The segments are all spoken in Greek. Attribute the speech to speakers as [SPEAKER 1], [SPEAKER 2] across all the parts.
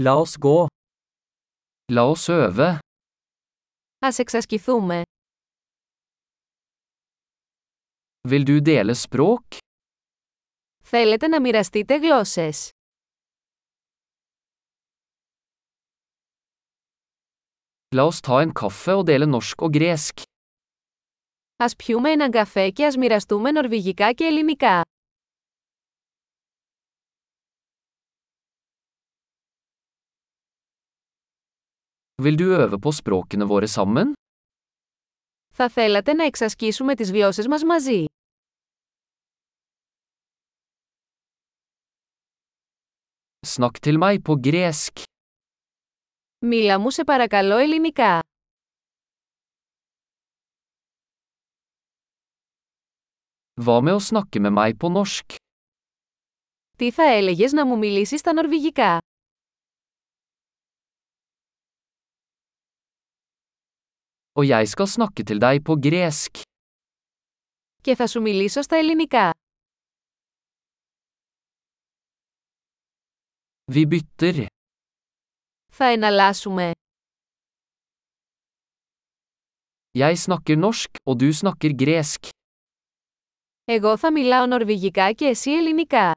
[SPEAKER 1] La oss gå. La oss øve.
[SPEAKER 2] Ας εξασκηθούμε.
[SPEAKER 1] Vil du dele språk?
[SPEAKER 2] Θέλετε να μοιραστείτε γλώσσες.
[SPEAKER 1] La oss ta en kaffe og dele norsk og gresk.
[SPEAKER 2] Ας πιούμε έναν καφέ και ας μοιραστούμε νορβηγικά και ελληνικά.
[SPEAKER 1] Vil du øve på språkene våre sammen?
[SPEAKER 2] Θα θέλατε να εξασκήσουμε τις γλώσσες μας μαζί.
[SPEAKER 1] Snakk til meg på gresk.
[SPEAKER 2] Μίλα μου σε παρακαλώ ελληνικά.
[SPEAKER 1] Hva med å snakke med meg på norsk?
[SPEAKER 2] Τι θα έλεγες να μου μιλήσεις στα νορβηγικά.
[SPEAKER 1] Og jeg skal snakke til deg på gresk.
[SPEAKER 2] Και θα σου μιλήσω στα ελληνικά.
[SPEAKER 1] Vi bytter.
[SPEAKER 2] Θα εναλλάσσουμε.
[SPEAKER 1] Jeg snakker norsk, og du snakker gresk.
[SPEAKER 2] Εγώ θα μιλάω νορβηγικά και εσύ ελληνικά.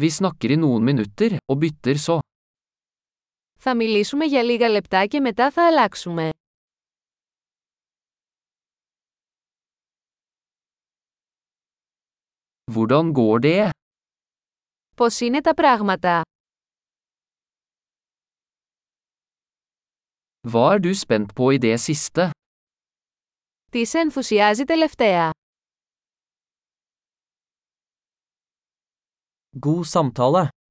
[SPEAKER 1] Vi snakker i noen minutter, og bytter så.
[SPEAKER 2] Θα μιλήσουμε για λίγα λεπτά και μετά θα αλλάξουμε.
[SPEAKER 1] Hvordan går det?
[SPEAKER 2] Πώς είναι τα πράγματα.
[SPEAKER 1] Hva er du spent på i det siste?
[SPEAKER 2] Τι σε ενθουσιάζει τελευταία.
[SPEAKER 1] God samtale.